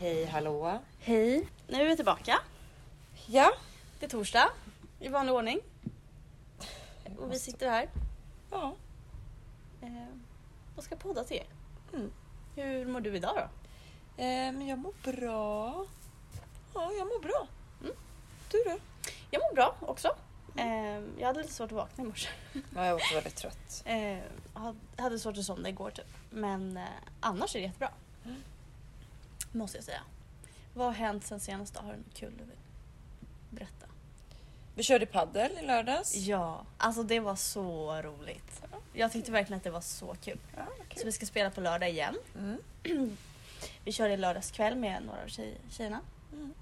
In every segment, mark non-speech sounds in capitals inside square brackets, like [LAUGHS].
Hej hallå! Hej. Nu är vi tillbaka. Ja. Det är torsdag i vanlig ordning. Och vi sitter här Ja. eh, och ska podda till er. Mm. Hur mår du idag då? Eh, men jag mår bra. Ja, jag mår bra. Mm. Du då? Jag mår bra också. Eh, jag hade lite svårt att vakna i morse. Ja, jag var också väldigt trött. Eh, had- hade svårt att somna igår typ. Men eh, annars är det jättebra. Mm. Måste jag säga. Vad har hänt sen senast då? Har du något kul du vill berätta? Vi körde paddel i lördags. Ja, alltså det var så roligt. Jag tyckte verkligen att det var så kul. Ja, Så vi ska spela på lördag igen. Mm. Vi körde i lördags kväll med några av tjej- tjejerna. Mm.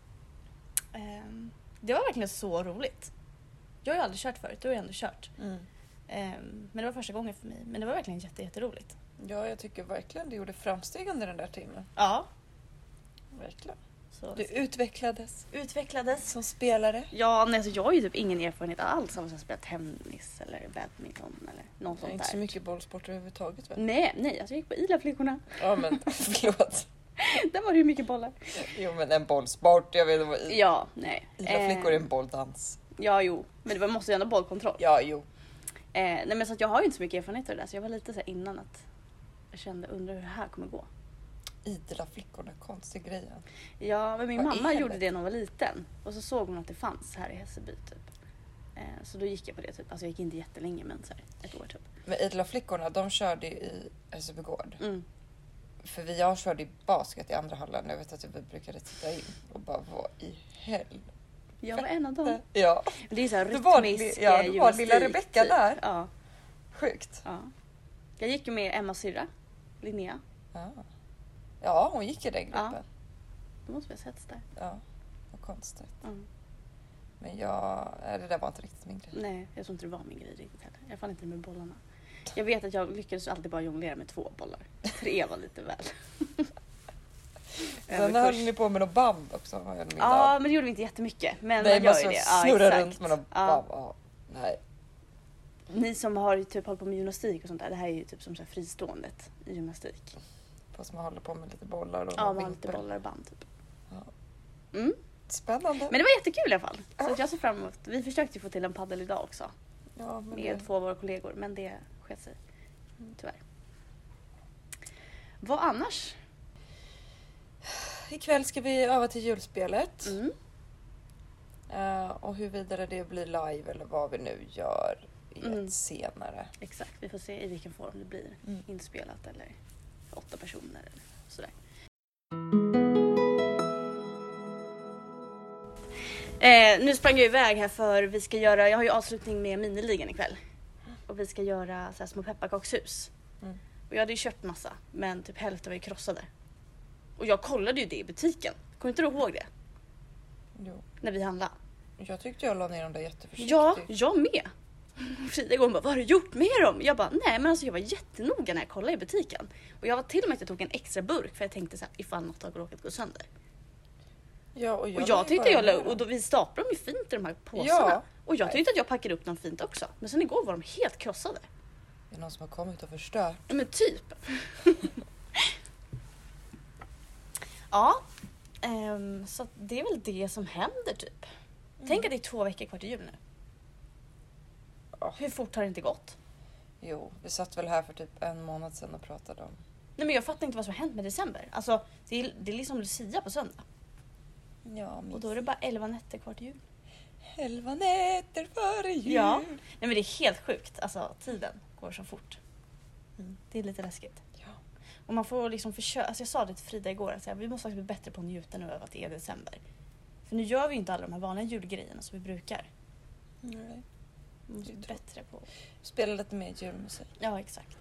Ehm, Det var verkligen så roligt. Jag har ju aldrig kört förut, du har ju ändå kört. Mm. Ehm, Men det var första gången för mig. Men det var verkligen jätte, jätteroligt. Ja, jag tycker verkligen du gjorde framsteg under den där timmen. Ja. Verkligen. Så Du utvecklades utvecklades. som spelare. Ja, nej, alltså jag har ju typ ingen erfarenhet alls av att spela tennis eller badminton eller något Det är sånt inte så där. mycket bollsporter överhuvudtaget väl? Nej, nej, alltså jag gick på Ila flickorna. [LAUGHS] Ja men [LAUGHS] förlåt. Där var det ju mycket bollar. Jo men en bollsport, jag vet vad Ila Ja, nej. flickor är Ehm, en bolldans. Ja, jo. Men det var- måste ju ändå ha bollkontroll. Ja jo. Eh, nej men så att jag har ju inte så mycket erfarenhet av det där så jag var lite så här innan att jag kände undrar hur det här kommer gå. Idla flickorna, konstig grej. alltså. Ja men min Vad i mamma gjorde helvete? det när hon var liten och så såg hon att det fanns här i Hässelby typ. Eh, så då gick jag på det typ, alltså jag gick inte jättelänge men så här, ett år typ. Men Idla flickorna, de körde ju i Hässelby gård. Mm. För vi, jag körde i basket i andra halvan. Jag vet att vi brukade titta in och bara vad i helvete. Jag var en av dem. Ja, Det är så här Du var li- rytmisk ja, eh, du var lilla gymnastik, Rebecca där. Ja, sjukt. ja. Jag gick ju med Emmas syrra, Linnea. Ja. ja, hon gick i den Ja. gruppen. Då måste vi ha setts där. Ja. vad konstigt. Mm. Men jag, nej, det där var inte riktigt min grej. Nej, jag tror inte det var min grej riktigt heller. Jag fann inte med bollarna. Jag vet att jag lyckades alltid bara jonglera med två bollar. Tre var lite väl. [LAUGHS] Sen Överkurs. höll ni på med någon band också. Har jag en bild Ja, av. men det gjorde vi inte jättemycket. Men Nej, man gör man ju det. ska Ja, snurra exakt. runt med någon Ja. band. Ja. Nej. Ni som har typ hållit på med gymnastik och sånt där. Det här är ju typ som så här friståendet i gymnastik. Fast man håller på med lite bollar och Ja, någon man har lite vimpel. bollar och band typ. Mm. Spännande. Men det var jättekul i alla fall. Så att jag ser fram emot. Vi försökte ju få till en paddel idag också. Mm. ja, men Med det, två av våra kollegor. Men det sket sig. Tyvärr. Vad annars? ikväll ska vi öva till julspelet. Mm. Eh, och huruvida det blir live eller vad vi nu gör är Mm. ett senare. Exakt, vi får se i vilken form det blir. Mm. Inspelat eller för åtta personer eller sådär. Eh, nu sprang jag iväg här för vi ska göra, jag har ju avslutning med miniligan ikväll. Och vi ska göra så här små pepparkakshus. Mm. Och jag hade ju köpt massa men typ hälften var ju krossade. Och jag kollade ju det i butiken. Kommer inte du ihåg det? Jo. När vi handlade. Jag tyckte jag la ner dem där jätteförsiktigt. Ja, jag med. Frida går och bara, vad har du gjort med dem? Jag bara, nej men alltså jag var jättenoga när jag kollade i butiken. Och jag var till och med att jag tog en extra burk för jag tänkte så här, ifall något har råkat gå sönder. Ja, och jag, och jag la ju tyckte bara jag la, ner dem. och då, vi staplade dem ju fint i de här påsarna. Ja. Och jag tyckte att jag packade upp dem fint också. Men sen igår var de helt krossade. Det är någon som har kommit och förstört. Ja, Men typ. [LAUGHS] ja, ehm, så att det är väl det som händer typ. Mm. Tänk att det är två veckor kvar till jul nu. Ja. Hur fort har det inte gått? Jo, vi satt väl här för typ en månad sedan och pratade om... Nej men jag fattar inte vad som har hänt med december. Alltså det är, det är liksom Lucia på söndag. Ja, men Och då är det bara 11 nätter kvar till jul. elva nätter före jul. Ja. Nej men det är helt sjukt. Alltså tiden går så fort. Mm. Det är lite läskigt. Ja. Och man får liksom försöka. Alltså jag sa det till Frida igår att så här, vi måste faktiskt bli bättre på att njuta nu över att det är december. För nu gör vi ju inte alla de här vanliga julgrejerna som vi brukar. Nej. Vi måste Det bli är tråkigt. bättre på... Spela lite mer julmusik. Ja exakt.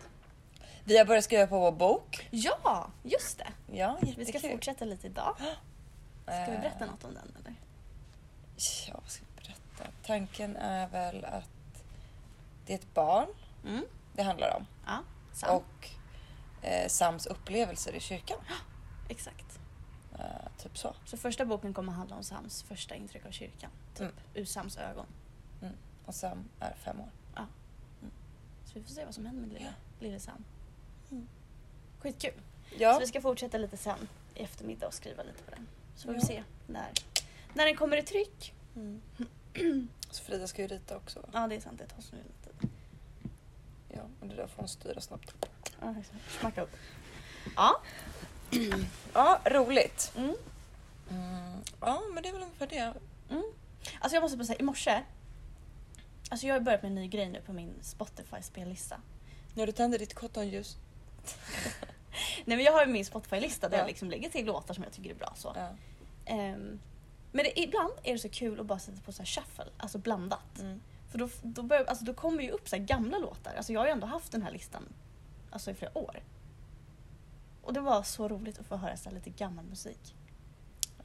Vi har börjat skriva på vår bok. Ja, just det. Ja, Eh, Vi ska fortsätta lite idag. Ska vi berätta något om den eller? Ja, vad ska vi berätta? Tanken är väl att det är ett barn Mm. det handlar om. Ja, sant. Och eh, Sams upplevelser i kyrkan. Exakt. Eh, typ så. Så första boken kommer handla om Sams första intryck av kyrkan. Typ Mm. ur Sams ögon. Och Sam är fem år. Så vi får se vad som händer med lille, Ja. lille Sam. Mm. Skitkul. Så Ja, vi ska fortsätta lite sen i eftermiddag och skriva lite på den. Så får vi Ja. se när, när den kommer i tryck. Mm. [CLEARS THROAT] Så Frida ska ju rita också. va? Ja, det är sant. Det tar så lite tid. Ja, och det där får hon styra snabbt. Ja, exakt. Smacka upp. Ja. Ja, roligt. Mm. Mm. Ja, men det är väl ungefär det. Alltså jag måste bara säga, i morse. Alltså jag har börjat med en ny grej nu på min Spotify-spellista. När du tänder ditt cottonljus. Nej men jag har ju min Spotify-lista där Ja. jag liksom lägger till låtar som jag tycker är bra. Så. Ja. Ehm, men det, ibland är det så kul att bara sätta på så här shuffle, alltså blandat. Mm. För då, då, börjar, alltså då kommer ju upp så här gamla låtar. Alltså jag har ju ändå haft den här listan alltså i flera år. Och det var så roligt att få höra så här lite gammal musik.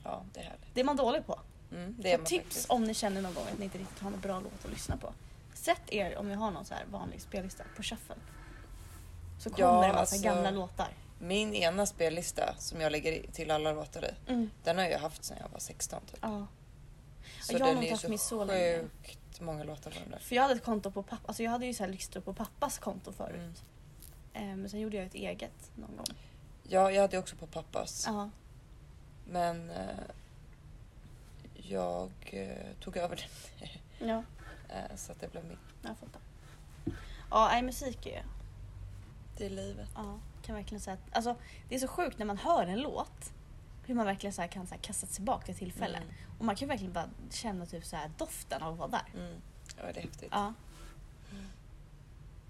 Ja, det är härligt. Det är man dålig på. Mm, det är så man tips faktiskt. om ni känner någon gång att ni inte riktigt har en bra låt att lyssna på. Sätt er om ni har någon så här vanlig spellista på shuffle. Så kommer Ja, det en massa alltså- gamla låtar. Min ena spellista som jag lägger i- till alla låtar i, den har jag haft sedan jag var 16 typ. Ja. Så jag har den är nog inte ju haft min så, så länge. sjukt många låtar på den där. För jag hade ett konto på pappa, alltså jag hade ju så här lyssnat på pappas konto förut. Mm. Eh, Men sen gjorde jag ett eget någon gång. Ja, jag hade ju också på pappas. Ja. Men eh, jag eh, tog över den Ja, eh, så att det blev mitt. jag fattar. Ja, nej, musik är Det är livet. Ja, kan verkligen säga att, alltså, det är så sjukt när man hör en låt. Hur man verkligen så här kan så här kasta tillbaka till tillfällen. Mm. Och man kan ju verkligen bara känna typ så här doften av att vara där. Mm. Ja, det är häftigt. Ja.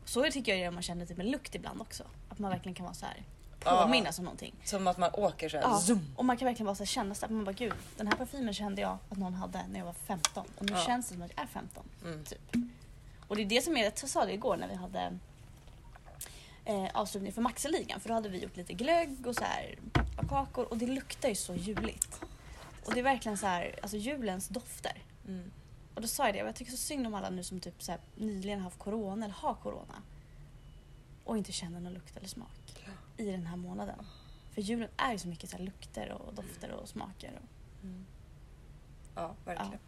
Så tycker jag det är om man känner typ en lukt ibland också. Att man verkligen kan vara så här Ja. påminnas om någonting. Som att man åker så här. Ja. Zoom. Och man kan verkligen bara så här känna så här, man bara gud, den här parfymen kände jag att någon hade när jag var 15 och nu Ja. känns det som att jag är 15. Mm. Typ. Och det är det som är, jag sa det igår när vi hade eh, avslutning för Maxeligan för då hade vi gjort lite glögg och så här kakor och det luktar ju så juligt. Och det är verkligen så här, alltså julens dofter. Mm. Och då sa jag det, jag tycker så synd om alla nu som typ så här, nyligen haft corona eller har corona och inte känner någon lukt eller smak Ja. i den här månaden. För julen är ju så mycket så här lukter och dofter och smaker. Och... Mm. Ja, verkligen.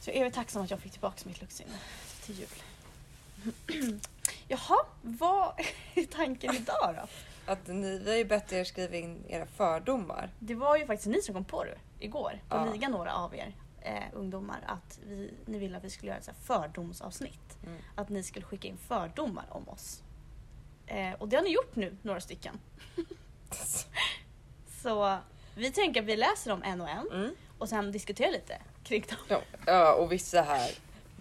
Så jag är väl tacksam att jag fick tillbaka mitt luktsinne till jul. [CLEARS THROAT] Jaha, vad är tanken idag då? Att ni, vi har ju bett er skriva in era fördomar. Det var ju faktiskt ni som kom på det igår, på Ja. ligan några av er eh, ungdomar, att vi, ni ville att vi skulle göra ett så här fördomsavsnitt. Mm. Att ni skulle skicka in fördomar om oss. Eh, och det har ni gjort nu, några stycken. [LAUGHS] Så vi tänker att vi läser dem en och en Mm. och sen diskuterar lite kring dem. Ja. ja, och vissa här,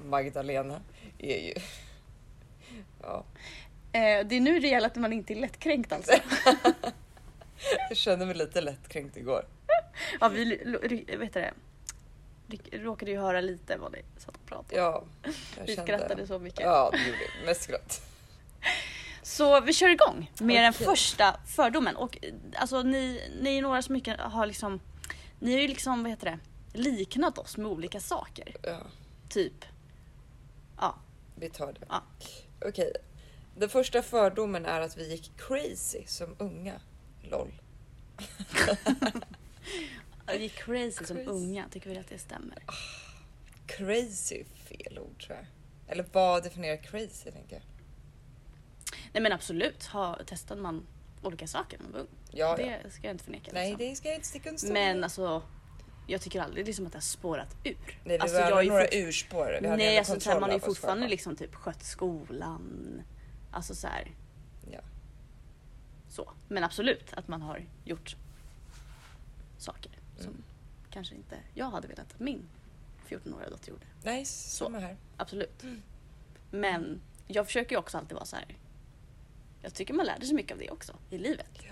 Magdalena, är ju... Ja, Eh, det är nu det gäller att man inte är lättkränkt alltså. jag kände mig lite lättkränkt igår. Ja, vi l- l- ry- vet du det, Ry- råkade ju höra lite vad ni satt och pratade om. Ja, jag vi kände- skrattade så mycket. Ja, det gjorde jag. Mest skratt. Så vi kör igång med den Okej. första fördomen. Och eh, alltså ni, ni är några som mycket har liksom, ni har ju liksom, vad heter det, liknat oss med olika saker. Ja, Typ, ja, vi tar det. Ja. Okej. Den första fördomen är att vi gick crazy som unga. LOL. [LAUGHS] vi är crazy, som Crazy. unga, tycker vi att det stämmer? Crazy är fel ord tror jag. Eller vad definierar crazy tänker jag? Nej men absolut, ha, testade man olika saker när man var ung. Ja, ja. det ska jag inte förneka. Nej, liksom. det ska jag inte sticka under stol Men med. alltså, jag tycker aldrig liksom att det har spårat ur. Nej, vi alltså, var jag är några fort- urspår. Vi hade Nej, ändå alltså, så här, kontroll man har ju över oss fortfarande själva. liksom typ skött skolan. Alltså så här. Ja. Så. Men absolut att man har gjort saker som Mm. kanske inte jag hade velat att min 14-åriga dotter gjorde. Nej, samma här. Absolut. Mm. Men jag försöker ju också alltid vara så här. Jag tycker man lärde sig mycket av det också i livet. Ja.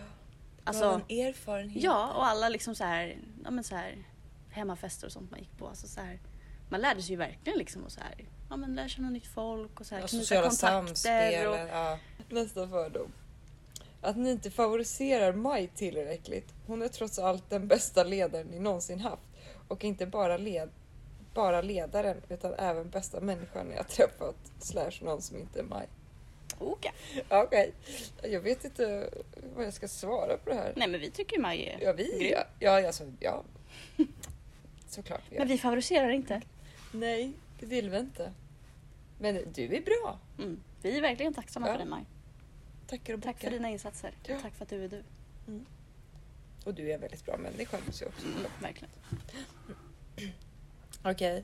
Alltså- Alltså, en erfarenhet. Ja, och alla liksom så här, ja men så här hemmafester och sånt man gick på. Alltså så här, man lärde sig ju verkligen liksom och så här, ja men lära känna nytt folk och så här, Ja, knyta sociala kontakter samspel. och- Ja. Nästa fördom. Att ni inte favoriserar Maj tillräckligt. Hon är trots allt den bästa ledaren ni någonsin haft. Och inte bara, led, bara ledaren utan även bästa människan jag träffat. Slash någon som inte är Maj. Okej. Okej, jag vet inte vad jag ska svara på det här. Nej men vi tycker ju Maj är Ja, vi, grym. ja, ja, alltså, ja. Såklart vi Men gör. vi favoriserar inte. Nej, det vill vi inte. Men du är bra. Mm. Vi är verkligen tacksamma Ja. för dig Maj. Tackar och Tack för bockar. dina insatser. Ja. Och tack för att du är du. Och du är en väldigt bra människa hoppas jag också. Mm, Verkligen. Okej.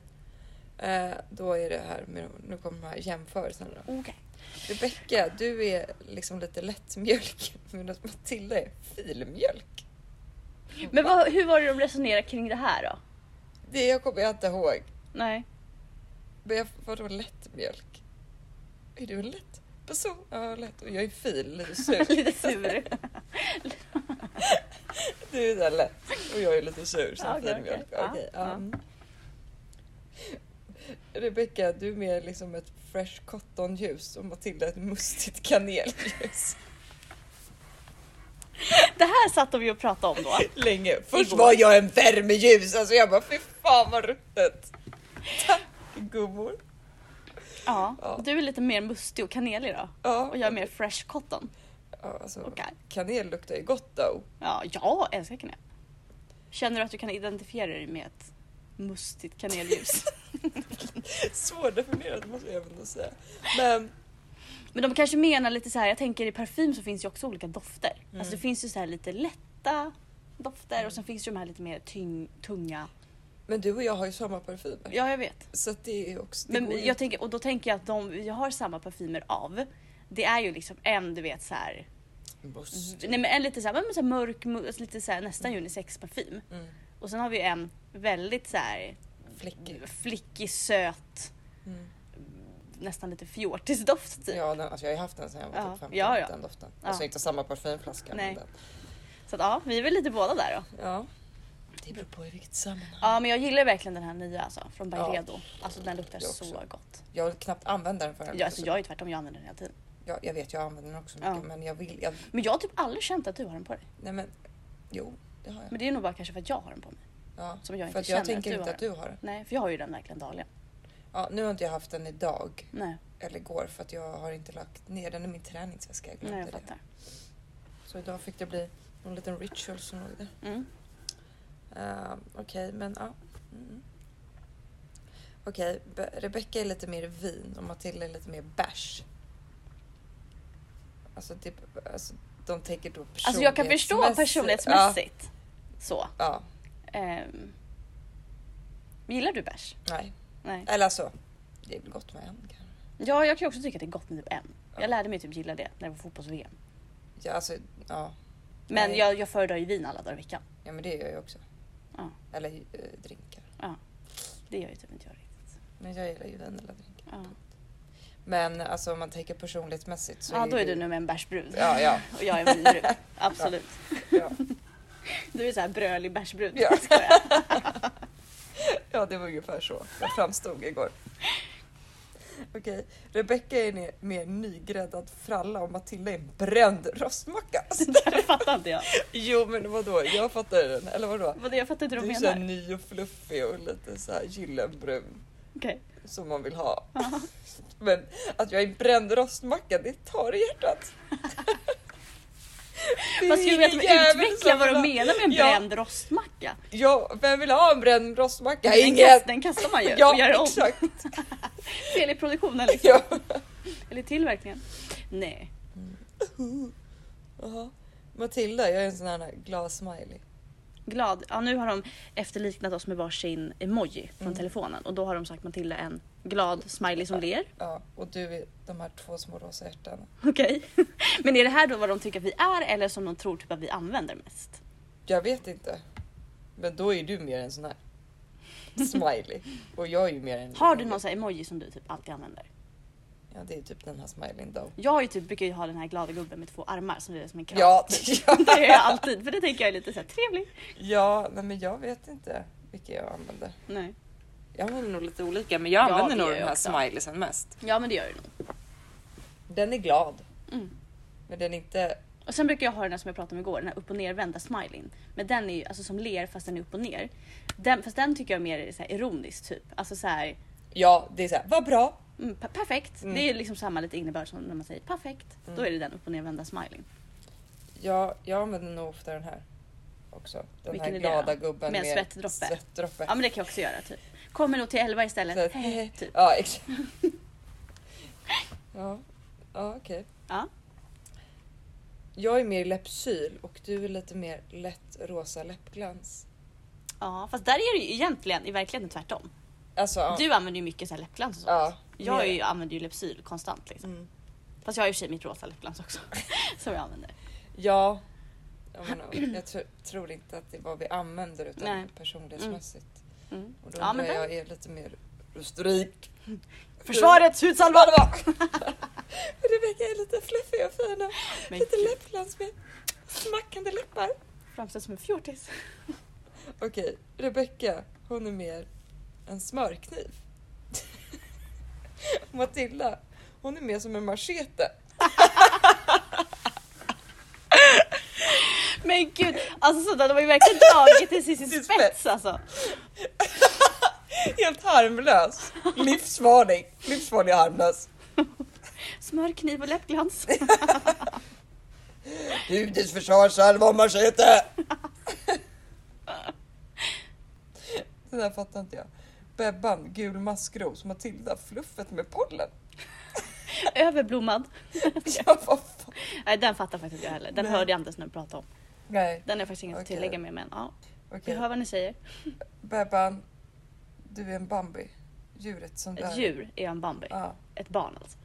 Eh, då är det här med, nu kommer de här jämförelserna då. Okej. Rebecka, du är liksom lite lättmjölk [LAUGHS] medan Matilda är filmjölk. Men vad, hur var det de resonerade kring det här då? Det jag kommer jag inte ihåg. Nej. Men jag, vadå lättmjölk? Är du en lätt person? Ja, lätt. Och jag är fil, lite sur. [LAUGHS] Lite sur. du är där lätt och jag är lite sur som Ja, okej, filmjölk. okej. Ja, Okej, ja. ja. mm. [LAUGHS] Rebecka, du är mer liksom ett fresh cotton-ljus och Matilda ett mustigt kanelljus. [LAUGHS] Det här satt de ju och pratade [LAUGHS] om då. länge. Först Igår. var jag en värmeljus, alltså jag bara fy fan vad ruttet. Tack gummor. Ja. Ja. Du är lite mer mustig och kanelig då. Ja, Och jag är mer fresh cotton. ja, alltså, Okej. Kanel luktar ju gott då. Ja, jag älskar kanel. Känner du att du kan identifiera dig med ett mustigt [LAUGHS] kanelljus? Svårdefinierat måste jag även säga. Men Men de kanske menar lite så här, jag tänker i parfym så finns ju också olika dofter. Mm. Alltså det finns ju så här lite lätta dofter och sen finns det ju de här lite mer tyng, tunga. Men du och jag har ju samma parfymer. Ja, jag vet. Så att det är ju också... Det går Men ju- jag tänker, och då tänker jag att de jag har samma parfymer av, det är ju liksom en du vet så här, Must. nej men en lite så här, men så här mörk, mu- alltså lite så här, nästan unisex parfym. Mm. Och sen har vi ju en väldigt så här Fläckig. flickig, söt, Mm. nästan lite fjortisdoft typ. Ja, den, alltså jag har ju haft den sen jag var Ja. typ 15. Ja, ja. Den doften. Ja. Alltså inte samma parfymflaska. Nej. Men den. Så att, ja, vi är väl lite båda där då. Ja. Det beror på i vilket sammanhang. Ja men jag gillar verkligen den här nya alltså, från Ja. Byredo. Alltså den luktar Jag så också. gott. Jag vill knappt använda den förrän. Ja, alltså, jag är tvärtom, jag använder den hela tiden. jag, jag vet, jag använder den också Ja. mycket. Men jag vill... Jag, Men jag har typ aldrig känt att du har den på dig. nej men... Jo, det har jag. Men det är nog bara kanske för att jag har den på mig. Ja, Som för jag inte att jag känner tänker att inte du har att du har den. Nej, för jag har ju den verkligen dagligen. Ja, nu har inte jag haft den idag Nej, eller igår för att jag har inte lagt ner den i min träningsväska. Jag glömde nej jag det. fattar. Så idag fick det bli någon liten ritual som låg där. Mm. Ehm, Okej, men ja. Mm. Okej, Be- Rebecca är lite mer vin och Matilda är lite mer bärs. Alltså, det, alltså de tänker då personlighetsmässigt. Alltså jag kan förstå personlighetsmässigt. Så. Ja, ja, Ehm. Gillar du bärs? nej. Nej. Eller alltså, det är väl gott med en kanske. Ja, jag kan ju också tycka att det är gott med typ en. Ja. Jag lärde mig typ gilla det när det var fotbolls-VM. Ja, alltså, ja. Men Nej. jag, jag föredrar ju vin alla dagar i veckan. ja, men det gör jag också. Ja. Eller eh, drinkar. Det gör ju typ inte jag riktigt. Men jag gillar ju vin eller drink. Ja, Men alltså om man tänker personlighetsmässigt så ja då är ju- du nu med en bärsbrud. Ja, ja. [LAUGHS] Och jag är en vinbrud. Absolut. Ja. Du är såhär brölig bärsbrud. Ja. Skojar. ja, det var ungefär så jag framstod igår. Okej, Rebecka är ne- mer nygräddad fralla och Matilda är en bränd [LAUGHS] rostmacka. Alltså, [LAUGHS] Det där fattar inte jag. jo, men vadå? Jag fattar den. Eller vadå? [LAUGHS] Vadå, Jag fattar inte vad Du de är så här menar. ny och fluffig och lite så här gyllenbrun Okej. som man vill ha. Men att jag är en bränd rostmacka, det tar i [LAUGHS] hjärtat. Det är Fast jag ingen vet jävel utveckla som vad vill de ha- menar med en Ja. bränd rostmacka. Ja, vem vill ha en bränd rostmacka? Den Ingen! kast- Den kastar man ju och gör Ja, om. exakt. Fel i produktionen liksom. Ja. Eller tillverkningen. Nej. Jaha. Mm. Matilda, jag är en sån här glad smiley. Glad. Ja, nu har de efterliknat oss med varsin emoji från Mm. telefonen och då har de sagt Matilda en glad smiley som ler. Ja, och du är de här två små rosa hjärtan. Okej. [LAUGHS] Men är det här då vad de tycker att vi är eller som de tror typ att vi använder mest? Jag vet inte. Men då är du mer en sån här smiley. Och jag är ju mer en... Har du någon sån här emoji som du typ alltid använder? Ja, det är typ den här smileyn då. Jag har ju typ, brukar ju ha den här glada gubben med två armar som är som en kram. Ja, [LAUGHS] Det gör jag ja. alltid för det tänker jag är lite så här trevlig. ja, nej men jag vet inte vilka jag använder. Nej. Jag använder nog lite olika, men jag Ja, använder det nog gör den jag här också. smileysen mest. Ja men det gör det nog. Den är glad, Mm. men den är inte... Och sen brukar jag ha den här som jag pratade om igår, den här upp och nervända smileyn. Men den är ju alltså som ler fast den är upp och ner. Den, fast den tycker jag mer är så här ironisk typ. Alltså så här, Ja, det är såhär, vad bra! mm, per- perfekt. Mm. Det är ju liksom samma lite innebörd som när man säger perfekt. Då är det den upp och nervända smileyn. Ja, jag använder nog ofta den här också. Den Vilken här är det glada då? gubben Med en svettdroppe? svettdroppe. Ja men det kan jag också göra typ. Kommer nog till elva Så att- istället. Hehe, typ. Ja, [LAUGHS] exakt. ja, ja okej. Ja. Jag är mer läppsyl och du är lite mer lätt rosa läppglans. Ja, fast där är det ju egentligen i verkligheten tvärtom. Alltså, ja. Du använder ju mycket så här läppglans och sånt. ja, Jag mer- är ju, använder ju Lypsyl konstant liksom. Mm. Fast jag har ju i och för sig mitt rosa läppglans också. [LAUGHS] som jag använder. Ja. Jag, menar, jag tr- tror inte att det är vad vi använder utan Nej. personlighetsmässigt. Mm. Och då Ja, undrar men jag, är lite mer röstrik? Försvarets hudsalva! Rebecka är lite fluffig och fin och Men lite gud. läppglans med smackande läppar. Framställs som en fjortis. Okej, Rebecka, hon är mer en smörkniv. [LAUGHS] Matilda, hon är mer som en machete. Men gud, alltså sådär, de har ju verkligen dragit det [LAUGHS] till sin Till spets alltså. Helt harmlös. Livsfarlig. Livsfarlig och harmlös. Smörkniv och läppglans. [LAUGHS] Judits försvarsalva och machete. [LAUGHS] Det där fattar inte jag. Bebban, gul maskros, Matilda, fluffet med pollen. [LAUGHS] Överblommad. Ja, vad fan. Nej den fattar faktiskt inte jag heller. Den Nej. hörde jag Anders när vi pratade om. Nej, Den är faktiskt inget att Okej. tillägga med men ja. Vi okej. hör vad ni säger. Bebban, du är en Bambi. Djuret som du Ett är. djur är en Bambi. Ja. Ett barn alltså.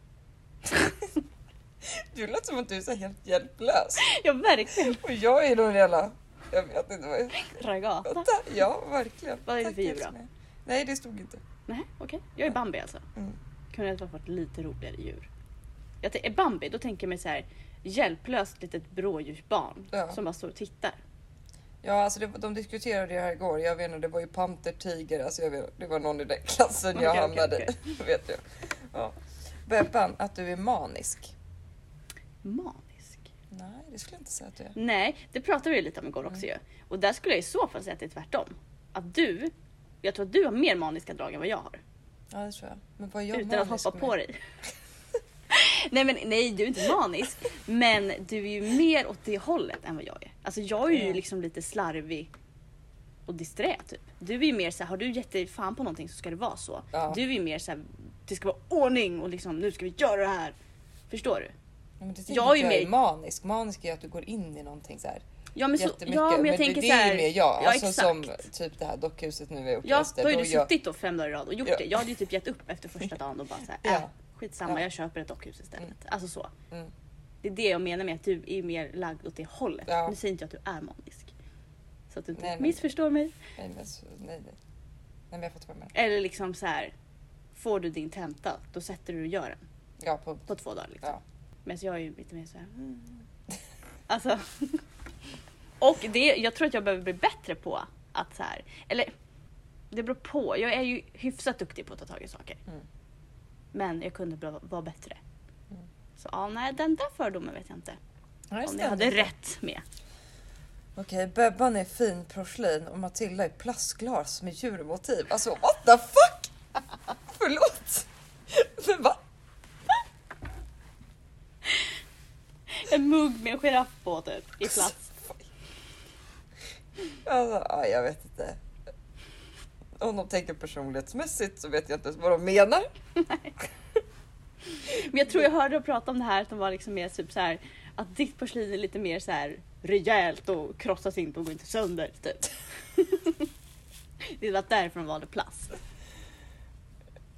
Du lät som att du är så här helt hjälplös. Ja verkligen. Och jag är någon jävla... Jag vet inte vad jag Ragata. Vänta, ja verkligen. Vad är det Tack, för djur då? Jasmine. Nej, det stod inte. Nej okej. Jag är Bambi alltså. Mm. Kunde det ha varit lite roligare djur? Jag tänker, Bambi, då tänker jag mig så här hjälplöst litet brådjursbarn Ja. som bara står och tittar. Ja, alltså det, de diskuterade det här igår. Jag vet inte, det var ju panter, tiger, alltså jag vet, det var någon i den klassen jag Okej, okej, hamnade okej. [LAUGHS] i. vet jag. Ja. Bebban, att du är manisk. Manisk. Nej, det skulle jag inte säga att du är. Nej, det pratade vi ju lite om igår Mm. också ju. Och där skulle jag i så fall säga att det är tvärtom. Att du, jag tror att du har mer maniska drag än vad jag har. Ja, det tror jag. Men vad är jag utan att manisk hoppa på med? dig. [LAUGHS] nej men nej, du är inte manisk. men du är ju mer åt det hållet än vad jag är. Alltså jag är ju Ja. liksom lite slarvig och disträ typ. Du är ju mer så här, har du gett dig fan på någonting så ska det vara så. Ja. Du är ju mer så här, det ska vara ordning och liksom nu ska vi göra det här. Förstår du? Ja, Men det Jag jag är är jag mer- är manisk. Manisk är att du går in i någonting så här. Ja men, så, jättemycket. ja, men jag det- tänker det, så är här. ju mer jag. ja, alltså exakt. som typ det här dockhuset nu är Ja, uppläst. då har ju du jag- suttit då fem dagar i rad och gjort Ja. det. Jag hade ju typ gett upp efter första dagen och bara såhär, Ja. äh, skitsamma Ja. jag köper ett dockhus istället. Alltså så. Mm. Det är det jag menar med att du är mer lagd åt det hållet. Ja. Nu säger inte jag att du är manisk. Så att du inte Nej, nej. missförstår mig. Nej, men så, nej, nej. nej, men jag fattar vad du menar. Eller liksom så här. får du din tenta då sätter du och gör den Ja, på, på två dagar. Liksom. Ja. Men så jag är ju lite mer såhär, [LAUGHS] mm. alltså. och det, jag tror att jag behöver bli bättre på att så här. eller det beror på. Jag är ju hyfsat duktig på att ta tag i saker. Mm. Men jag kunde bra- vara bättre. Mm. Så ja, nej, den där fördomen vet jag inte Ja, just om det. jag hade rätt med. Okej, Bebban är fin porslin och Matilda är plastglas med djurmotiv. Alltså what the fuck! [LAUGHS] Förlåt! Men va? En mugg med en giraff på typ, [LAUGHS] i plats. Alltså, ja, jag vet inte. Om de tänker personlighetsmässigt så vet jag inte ens vad de menar. Men jag tror jag hörde och prata om det här att de var liksom mer typ så här att ditt porslin är lite mer så här rejält och krossas inte och går inte sönder typ. [LAUGHS] det var därför de valde plast.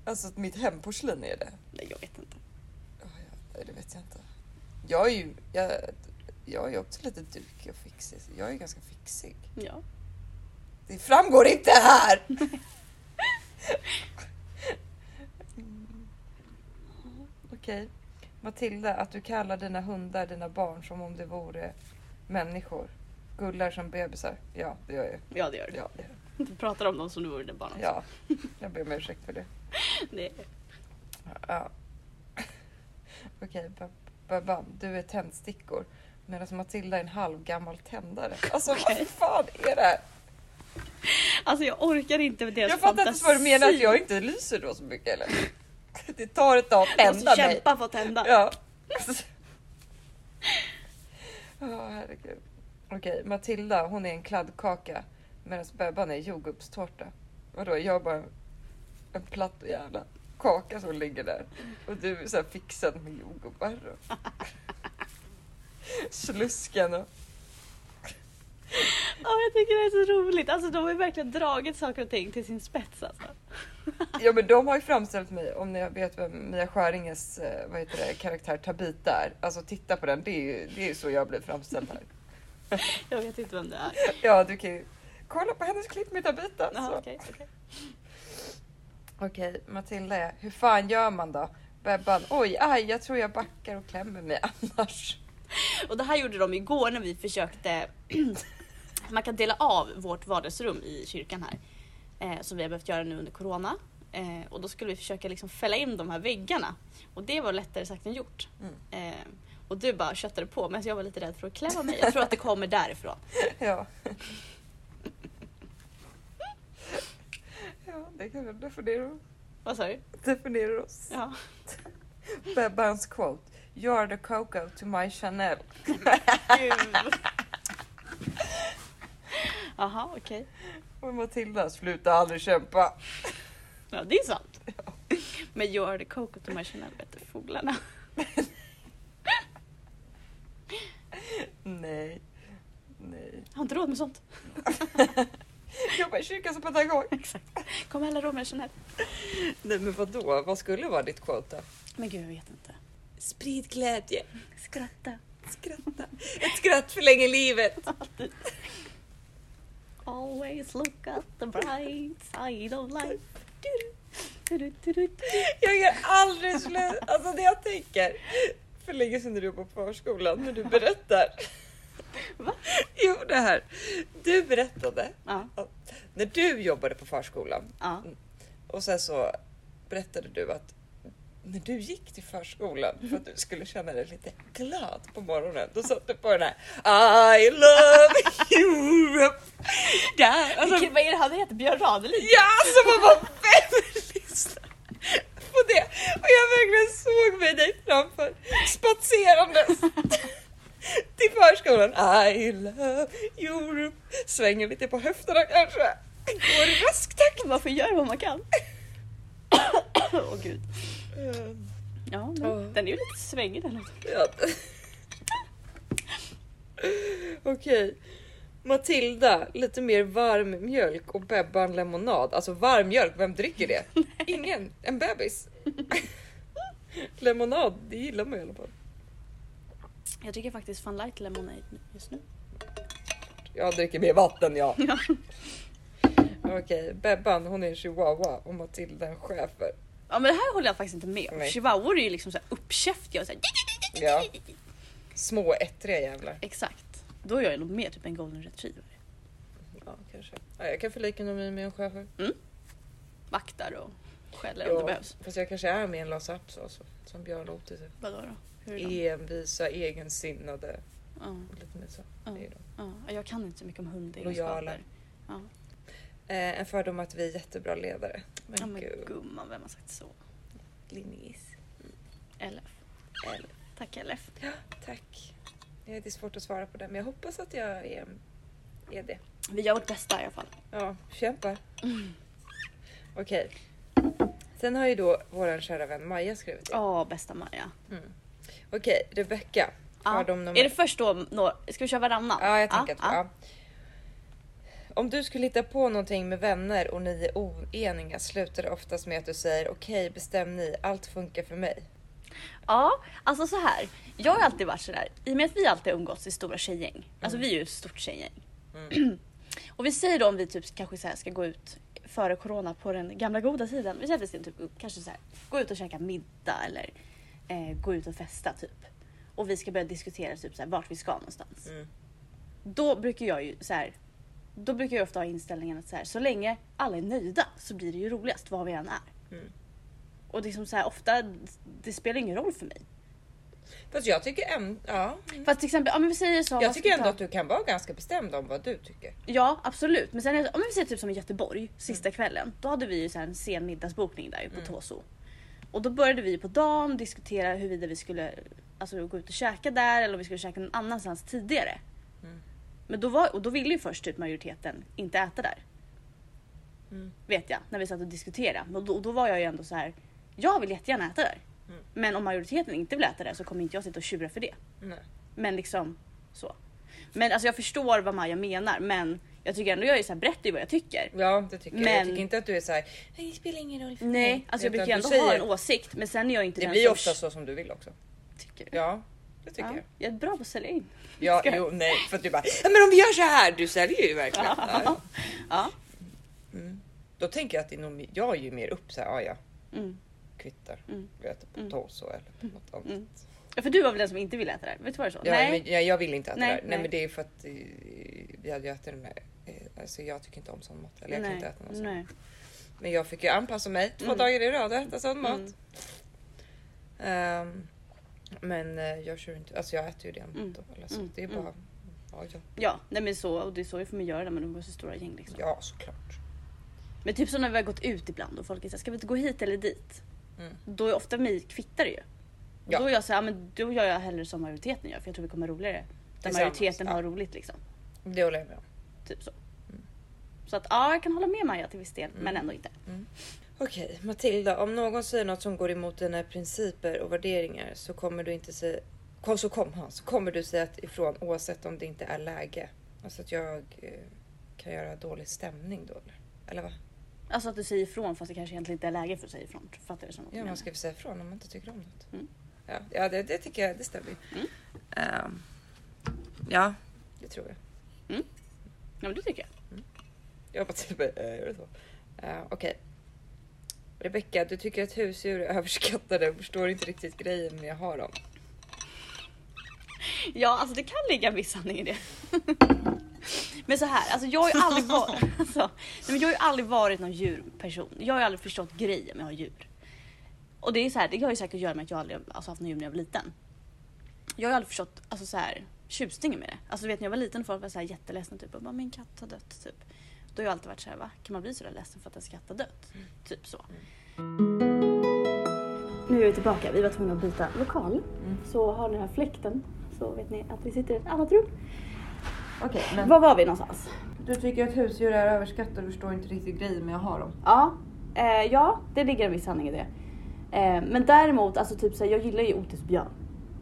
Alltså att mitt hemporslin är det. Nej, jag vet inte. Ja, ja, nej, det vet jag inte. Jag är ju, jag, jag är ju också lite dukig och fixig. så Jag är ganska fixig. Ja. Det framgår inte här! Mm. Okej. Matilda, att du kallar dina hundar dina barn som om de vore människor. Gullar som bebisar. Ja, det gör jag. Ja, det gör du. Ja, det gör Du pratar om dem som du vore dina barn jag. också. ja. jag ber om ursäkt för det. Det- Ja. [LAUGHS] Okej, okay, Babam, du är tändstickor. Medan Matilda är en halvgammal tändare. Alltså Okej. vad fan är det här? Alltså jag orkar inte med deras Jag fattar inte vad du menar att jag inte lyser då så mycket eller? Det tar ett tag att Alltså, Jag måste tända mig. kämpa för att tända. Ja. [LAUGHS] Ja, herregud. Okej, Matilda hon är en kladdkaka medan Bebban är jordgubbstårta. Vadå, jag är bara en platt jävla kaka som ligger där och du är så här fixad med jordgubbar. och- slusken och... Ja, jag tycker det är så roligt. Alltså de har ju verkligen dragit saker och ting till sin spets alltså. Ja men de har ju framställt mig, om ni vet vem Mia Skäringes eh, vad heter det, karaktär Tabita är. Alltså titta på den, det är ju, det är ju så jag blir framställd här. Jag vet inte vem det är. [LAUGHS] Ja du kan ju kolla på hennes klipp med Tabita. så. Jaha, okej, okej. Okej Matilda är, hur fan gör man då? Bebban, oj aj jag tror jag backar och klämmer mig annars. [LAUGHS] Och det här gjorde de igår när vi försökte... [CLEARS THROAT] man kan dela av vårt vardagsrum i kyrkan här. Eh, som vi har behövt göra nu under corona. Eh, och då skulle vi försöka liksom fälla in de här väggarna. Och det var lättare sagt än gjort. Mm. Eh, och du bara köttade på medan jag var lite rädd för att klämma mig. Jag tror att det kommer därifrån. Ja. Ja, det kanske definierar, Vad sa du? definierar oss. Ja. Bebbans quote. You are the Coco to my Chanel. Gud. Jaha, okej. Och Matilda, sluta aldrig kämpa. Ja, det är sant. Men gör det coco till man känner bättre fåglarna. Nej. Nej. Jag har inte råd med sånt. [LAUGHS] Jobbar i kyrkan som pedagog. Kom alla råd med Chanel. [LAUGHS] Nej men vadå, vad skulle vara ditt quote då? Men gud, jag vet inte. Sprid glädje, Skratta. skratta. Ett skratt förlänger livet. Always look at the bright side of life. Jag gör aldrig slut. Alltså det jag tänker. För länge sedan när du jobbade på förskolan, när du berättar. Va? Jo det här. Du berättade Ja, när du jobbade på förskolan ja. och sen så berättade du att när du gick till förskolan för att du skulle känna dig lite glad på morgonen, då satte du på den här I love Europe. Där, alltså, Vilket, vad är det han heter? Björn Ranelid? Ja, alltså man bara vem lyssnar på det? Och jag verkligen såg mig dig framför spatserandes till förskolan. I love Europe. Svänger lite på höfterna kanske. Går i rask takt. Man får göra vad man kan. [COUGHS] Åh gud. Ja, men Ja. den är ju lite svängig den låten. Ja. Okej. Matilda, lite mer varm mjölk och Bebban lemonad. Alltså varm mjölk, vem dricker det? Ingen, en bebis. [LAUGHS] lemonad, det gillar man i alla fall. Jag dricker faktiskt Fun Light Lemonade nu- just nu. Jag dricker mer vatten ja. Okej, Bebban hon är en chihuahua och Matilda en schäfer. Ja men det här håller jag faktiskt inte med om. Nej. Chihuahuor är ju liksom så här uppkäftiga och så här, Ja. Små ettriga jävlar. Exakt. Då är jag nog mer typ en golden retriever. Ja, kanske. Ja, jag kan förlika mig med en schäfer. Vaktar och skäller om Ja, det behövs. Fast jag kanske är med en Lasse Apps också, som Björn Lote typ. Vadå då? Hur är de? envisa, egensinnade. Ja, Lite mer så. Ja. Det är de. ja, jag kan inte så mycket om Lojala. hundegenskaper. Eh, en fördom att vi är jättebra ledare. Men Ja men gud, gumman, vem har sagt så? Linneis. LF. Eller, Tack LF. Tack. Det är svårt att svara på det, men jag hoppas att jag är, är det. Vi gör vårt bästa i alla fall. Ja, kämpa. [LAUGHS] Okej. Sen har ju då vår kära vän Maja skrivit det. Ja, bästa Maja. Mm. Okej, Rebecka. Ja. Fördom nummer... Är det först då några... Ska vi köra varannan? Ja, jag tänker att... ja. Ja. Om du skulle hitta på någonting med vänner och ni är oeniga slutar det oftast med att du säger okej bestäm ni, allt funkar för mig. Ja, alltså så här. Jag har alltid varit sådär, i och med att vi alltid har umgåtts i stora tjejgäng. Alltså vi är ju ett stort tjejgäng. [CLEARS THROAT] och vi säger då om vi typ kanske så här ska gå ut före corona på den gamla goda tiden. Vi säger att vi ska typ, kanske så här, gå ut och käka middag eller eh, gå ut och festa typ. Och vi ska börja diskutera typ så här, vart vi ska någonstans. Mm. Då brukar jag ju så här, då brukar jag ofta ha inställningen att så, här, så länge alla är nöjda så blir det ju roligast vad vi än är. Mm. Och det är som så här, ofta, det spelar ingen roll för mig. Fast jag tycker, äm- ja, Mm. Fast till exempel, om vi säger så. jag vad tycker ska vi ändå ta? att du kan vara ganska bestämd om vad du tycker. Ja absolut. Men sen är det- om vi säger typ som i Göteborg, sista kvällen. Då hade vi ju så här en sen middagsbokning där ju på Mm. Tåso. Och då började vi på dagen diskutera huruvida vi skulle alltså, gå ut och käka där eller om vi skulle käka någon annanstans tidigare. Mm. Men då, var, och då ville ju först typ majoriteten inte äta där. Mm. Vet jag, när vi satt och diskuterade. Och då, och då var jag ju ändå så här. jag vill jättegärna äta där. Mm. Men om majoriteten inte vill äta där så kommer inte jag sitta och tjura för det. Nej. Men liksom så. Men alltså jag förstår vad Maja menar men jag tycker ändå jag är så här, berättar ju vad jag tycker. Ja, det tycker jag. Jag Men- tycker inte att du är så här, nej det spelar ingen roll för Nej, mig. alltså jag Utan brukar ju du ändå ha en åsikt men sen är jag inte Det den blir som ofta så som du vill också. tycker. Ja, det tycker Ja, jag. jag är bra på att sälja in. Ja, Ska jag? jo, nej, för att du bara, "Ja, men om vi gör så här, du säljer ju [LAUGHS] verkligen. [LAUGHS] Ja. Ja. ja. Mm. Då tänker jag att det är nog, jag är ju mer upp så här, ja, ja, Mm. kvittar. Mm. Vi äter på Mm. toast och eller på något annat. Mm. ja. För du var väl den som inte ville äta det här? Vet du vad det så? Ja, Nej. Men, ja, jag vill inte äta Nej, det där. Nej, nej. men det är ju för att eh, vi hade ju ätit den där. eh, Alltså jag tycker inte om sån mat. Eller jag Nej. kan inte äta någon sån. Nej. Men jag fick ju anpassa mig två Mm. dagar i rad och äta sån mat. Mm. Ehm, men eh, jag kör inte. Alltså jag äter ju det Mm. då. Eller så. Mm, Det är mm. bara. Ja, ja, Ja, nej men så och det är så får man göra det men de var så stora gäng liksom. ja såklart. Men typ som när vi har gått ut ibland och folk är såhär, ska vi inte gå hit eller dit? Mm. Då är ofta mig kvittar det ju. Och Ja. Då är jag såhär, ja, men då gör jag hellre som majoriteten gör för jag tror vi kommer ha roligare. Där Tillsammans, majoriteten ja. Mm. har roligt liksom. Det håller jag med om. Typ så. Så att ja, jag kan hålla med Maja till viss del Mm. men ändå inte. Okej Matilda, om någon säger något som går emot dina principer och värderingar så kommer du inte säga kom, så, kom, han, så kommer du säga att ifrån oavsett om det inte är läge. Alltså att jag eh, kan göra dålig stämning då eller? Eller va? Alltså att du säger ifrån fast det kanske egentligen inte är läge för att säga ifrån. Fattar du som att du Ja, menar? man ska väl säga ifrån om man inte tycker om något. Mm. Ja, ja det, det tycker jag, det stämmer ju. Mm. Ehm, ja, det tror jag. Ja men det tycker jag. Jag bara till och med, eh, gör det så? Eh, Okej. Rebecka, du tycker att husdjur är överskattade och förstår inte riktigt grejen med att ha dem. [LAUGHS] Ja alltså det kan ligga en viss sanning i det. [LAUGHS] men så här, alltså jag har ju aldrig varit, [LAUGHS] alltså, nej, men jag har ju aldrig varit någon djurperson. Jag har ju aldrig förstått grejen med att ha djur. Och det är så här, det har ju säkert att göra med att jag aldrig alltså, haft några djur när jag var liten. Jag har ju aldrig förstått alltså, så här, tjusningen med det. Alltså du vet när jag var liten och folk var så här jätteledsna typ och bara min katt har dött typ. Då har jag alltid varit så här va, kan man bli så där ledsen för att ens katt har dött? Typ så. Nu är vi tillbaka, vi var tvungna att byta lokal. Så har ni den här fläkten så vet ni att vi sitter i ett annat rum. Okej, Var var vi någonstans? Du tycker att husdjur är överskattade och förstår inte riktigt grejen med att ha dem. Ja, eh, ja det ligger en viss sanning i det. Eh, men däremot, alltså typ så här, jag gillar ju otusbjörn.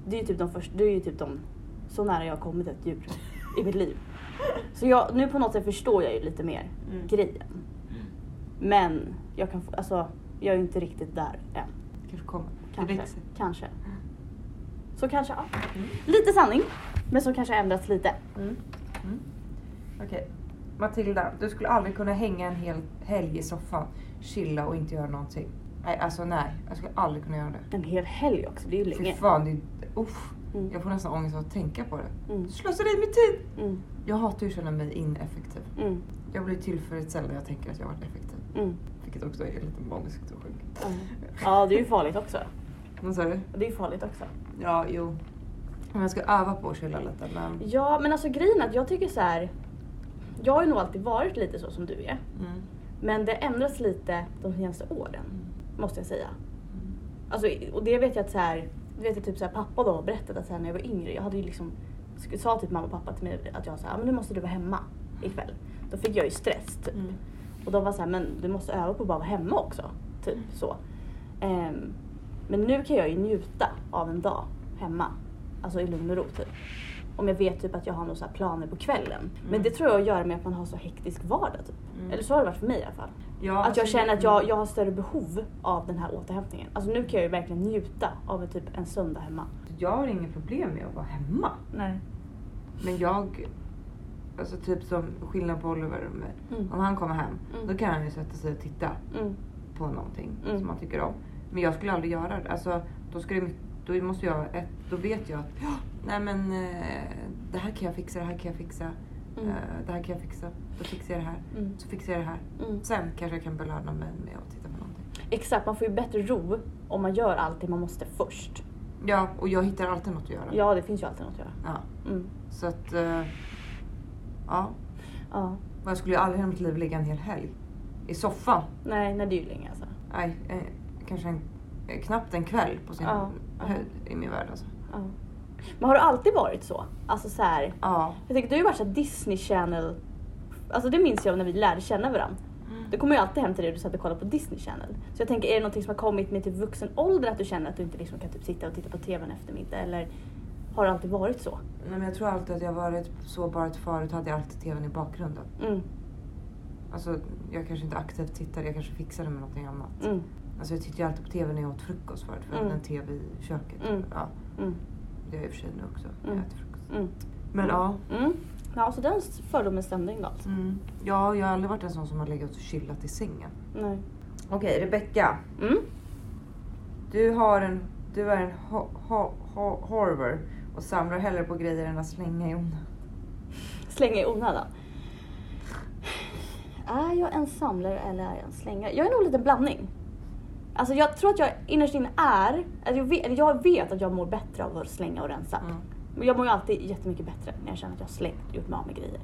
Det är ju typ de första, det är ju typ de, så nära jag har kommit ett djur i mitt liv. Så jag, nu på något sätt förstår jag ju lite mer Mm. grejen. Men jag kan, få- alltså jag är ju inte riktigt där än. Kanske kommer. Kanske. Mm. Kanske. Så kanske, ja. Lite sanning, men som kanske ändras lite. Mm. Okej. Matilda, du skulle aldrig kunna hänga en hel helg i soffan, chilla och inte göra någonting. Nej, alltså nej. Jag skulle aldrig kunna göra det. En hel helg också, det är ju Fy länge. fan, det är... Uff, Mm. Jag får nästan ångest av att tänka på det. Mm, Slöseri med tid! mm, Jag hatar ju att känna mig ineffektiv. mm, Jag blir tillfredsställd när jag tänker att jag har varit effektiv. mm. Vilket också är lite maniskt och sjukt. Mm. Ja, det är ju farligt också. Vad sa du? Det är ju farligt också. Ja, jo. Men jag ska öva på att chilla lite men... Ja, men alltså grejen är att jag tycker så här. Jag har ju nog alltid varit lite så som du är. Mm. Men det ändras lite de senaste åren, måste jag säga. Alltså, och det vet jag att så här, du vet jag typ så här, pappa då har berättat att så här, när jag var yngre, jag hade ju liksom, sk- sa typ mamma och pappa till mig att jag sa, "Ja, men nu måste du vara hemma ikväll. Då fick jag ju stress typ. Mm. Och de var så här, men du måste öva på att bara vara hemma också. Typ Mm. så. Ehm, men nu kan jag ju njuta av en dag hemma. Alltså i lugn och ro typ. Om jag vet typ att jag har några så här planer på kvällen. Men det tror jag har att göra med att man har så hektisk vardag typ. Mm. Eller så har det varit för mig i alla fall. Ja, Att jag alltså- känner att jag, jag har större behov av den här återhämtningen. Alltså nu kan jag ju verkligen njuta av en, typ en söndag hemma. Jag har inga problem med att vara hemma. Nej. Men jag... Alltså typ som skillnad på Oliver och mig. Mm. Om han kommer hem, Mm. då kan han ju sätta sig och titta Mm. på någonting Mm. som han tycker om. Men jag skulle aldrig göra det. Alltså, då, skulle, jag- då måste jag... Ett, då vet jag att... "Ja, Nej men eh, det här kan jag fixa, det här kan jag fixa. Mm. eh, Det här kan jag fixa. Då fixar jag det här. Mm. Så fixar jag det här. Mm. Sen kanske jag kan belöna mig med att titta på någonting. Exakt, man får ju bättre ro om man gör allt det man måste först. Ja, och jag hittar alltid något att göra. Ja, det finns ju alltid något att göra. Ja, Mm. så att... eh, Ja. Ja. Men jag skulle ju aldrig i mitt liv ligga en hel helg i soffan. Nej, nej det är ju länge alltså. Nej, eh, kanske en, eh, knappt en kväll på sin Ja. höjd i min värld alltså. Ja. Men har du alltid varit så? Alltså så här, Ja. jag tänker du har ju varit så här Disney Channel, alltså det minns jag när vi lärde känna varandra. Du kommer ju alltid hem till det du satt och kollade på Disney Channel. Så jag tänker, är det typ någonting som har kommit med till vuxen ålder att du känner att du inte liksom kan typ sitta och titta på TV en eftermiddag eller har det alltid varit så. Nej, men jag tror alltid att jag varit så bara att förut hade jag alltid tvn i bakgrunden. Mm, Alltså, jag kanske inte aktivt tittade, jag kanske fixade med någonting annat. mm, Alltså, jag tittade ju alltid på tv när jag åt frukost förut, för jag Mm. hade en tv i köket. Mm. Ja, mm, det gör jag i och för sig nu också, när Mm. jag äter frukost. mm. Men ja. Mm. Ja, så den fördomen stämde alltså. inte alls. Mm. Ja, jag har aldrig varit en sån som har legat och chillat i sängen. Nej. Okej, Rebecka. Mm. Du har en... Du är en ho, ho, ho, horver och samlar hellre på grejer än att slänga i onödan. Slänga i onödan. Är jag en samlare eller är jag en slängare? Jag är nog en liten blandning. Alltså jag tror att jag innerst inne är, alltså jag, vet, eller jag vet att jag mår bättre av att slänga och rensa. Mm. Men jag mår ju alltid jättemycket bättre när jag känner att jag har slängt och gjort mig av med grejer.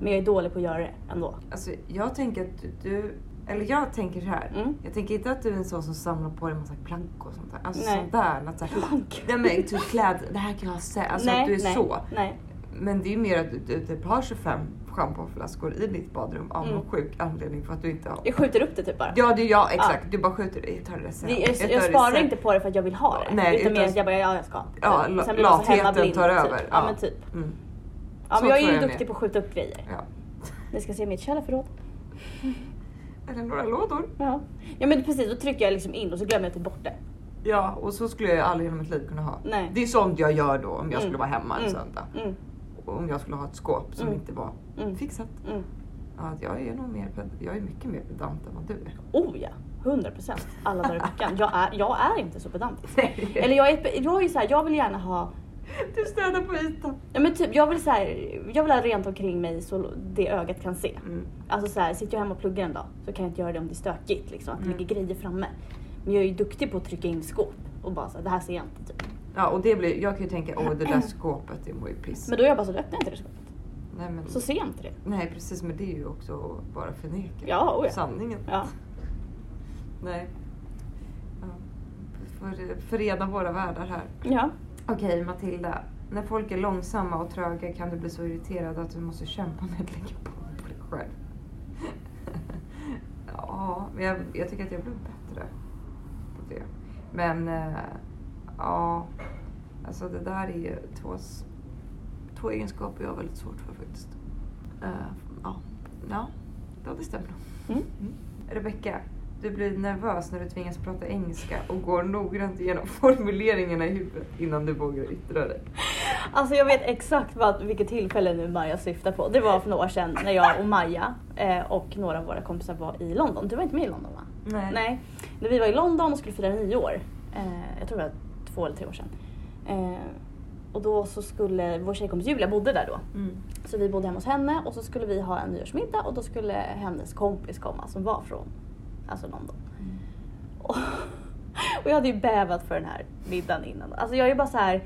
Men jag är dålig på att göra det ändå. Alltså, jag tänker att du- du... Eller jag tänker så här. Mm. Jag tänker inte att du är en sån som samlar på dig en massa plank och sånt där. Alltså Nej. sånt där. Att så här, Plank. Nej men typ kläd, det här kan jag se. Alltså att du är nej, så. Nej. Men det är ju mer att du, du typ har 25 schampoflaskor i ditt badrum av Mm. någon sjuk anledning för att du inte har. Jag skjuter upp det typ bara. Ja, det är jag. Exakt. Du bara skjuter det. Jag tar det sen. Det- jag, jag, tar det sparar sen. inte på det för att jag vill ha det. Nej, utan mer utan- att jag bara, ja jag ska. Ja, Sen la- blir jag så latheten hemmablind, tar typ. över, Ja, ja. men typ. Mm. Ja, Så men jag är tror ju jag med. duktig på att skjuta upp grejer. [LAUGHS] Ja. Ni ska se mitt källarförråd. Eller några lådor. Ja. ja men precis, då trycker jag liksom in och så glömmer jag att ta bort det. Ja, och så skulle jag ju aldrig hela mitt liv kunna ha. Nej. Det är sånt jag gör då om jag Mm. skulle vara hemma liksom, en Mm. söndag. Mm, Och om jag skulle ha ett skåp som Mm. inte var mm, fixat. mm. Ja, att jag är nog mer, ped- jag är mycket mer pedant än vad du är. Oh ja, 100 procent alla dagar i veckan. Jag är, jag är inte så pedantisk. Nej. [LAUGHS] Eller jag är, jag är ju så här, jag vill gärna ha [LAUGHS] Du städar på ytan. Ja, men typ, jag, vill så här, jag vill ha rent omkring mig så det ögat kan se. Mm. Alltså så här, sitter jag hemma och pluggar en dag så kan jag inte göra det om det är stökigt. Liksom, att det Mm. ligger grejer framme. Men jag är ju duktig på att trycka in skåp och bara så här, det här ser jag inte. Typ. Ja, och det blir, jag kan ju tänka, åh det där skåpet det mår ju piss. Men då är jag bara så, då öppnar jag inte det skåpet. nej, men, Så ser jag inte det. nej precis, men det är ju också att bara förneka Ja, oh ja. sanningen. Ja. Nej. Ja. För, förena våra världar här. ja. Okej Matilda, när folk är långsamma och tröga kan du bli så irriterad att du måste kämpa med att lägga på på dig själv. [LAUGHS] ja, men jag, jag tycker att jag blev bättre på det. Men eh, ja, alltså det där är ju två, s- två egenskaper jag har väldigt svårt för faktiskt. Eh, ja. ja, ja, det stämmer nog. Mm. Rebecka, du blir nervös när du tvingas prata engelska och går noggrant igenom [LAUGHS] formuleringarna i huvudet innan du vågar yttra dig. [LAUGHS] Alltså jag vet exakt vad, vilket tillfälle nu Maja syftar på. Det var för några år sedan när jag och Maja eh, och några av våra kompisar var i London. Du var inte med i London va? Nej. Nej. När vi var i London och skulle fira nio år. Eh, jag tror det var två eller tre år sedan. Eh, och då så skulle vår tjejkompis Julia bodde där då. Mm. Så vi bodde hemma hos henne och så skulle vi ha en nyårsmiddag och då skulle hennes kompis komma som var från alltså London. Och, och jag hade ju bävat för den här middagen innan. Alltså jag är ju bara så här.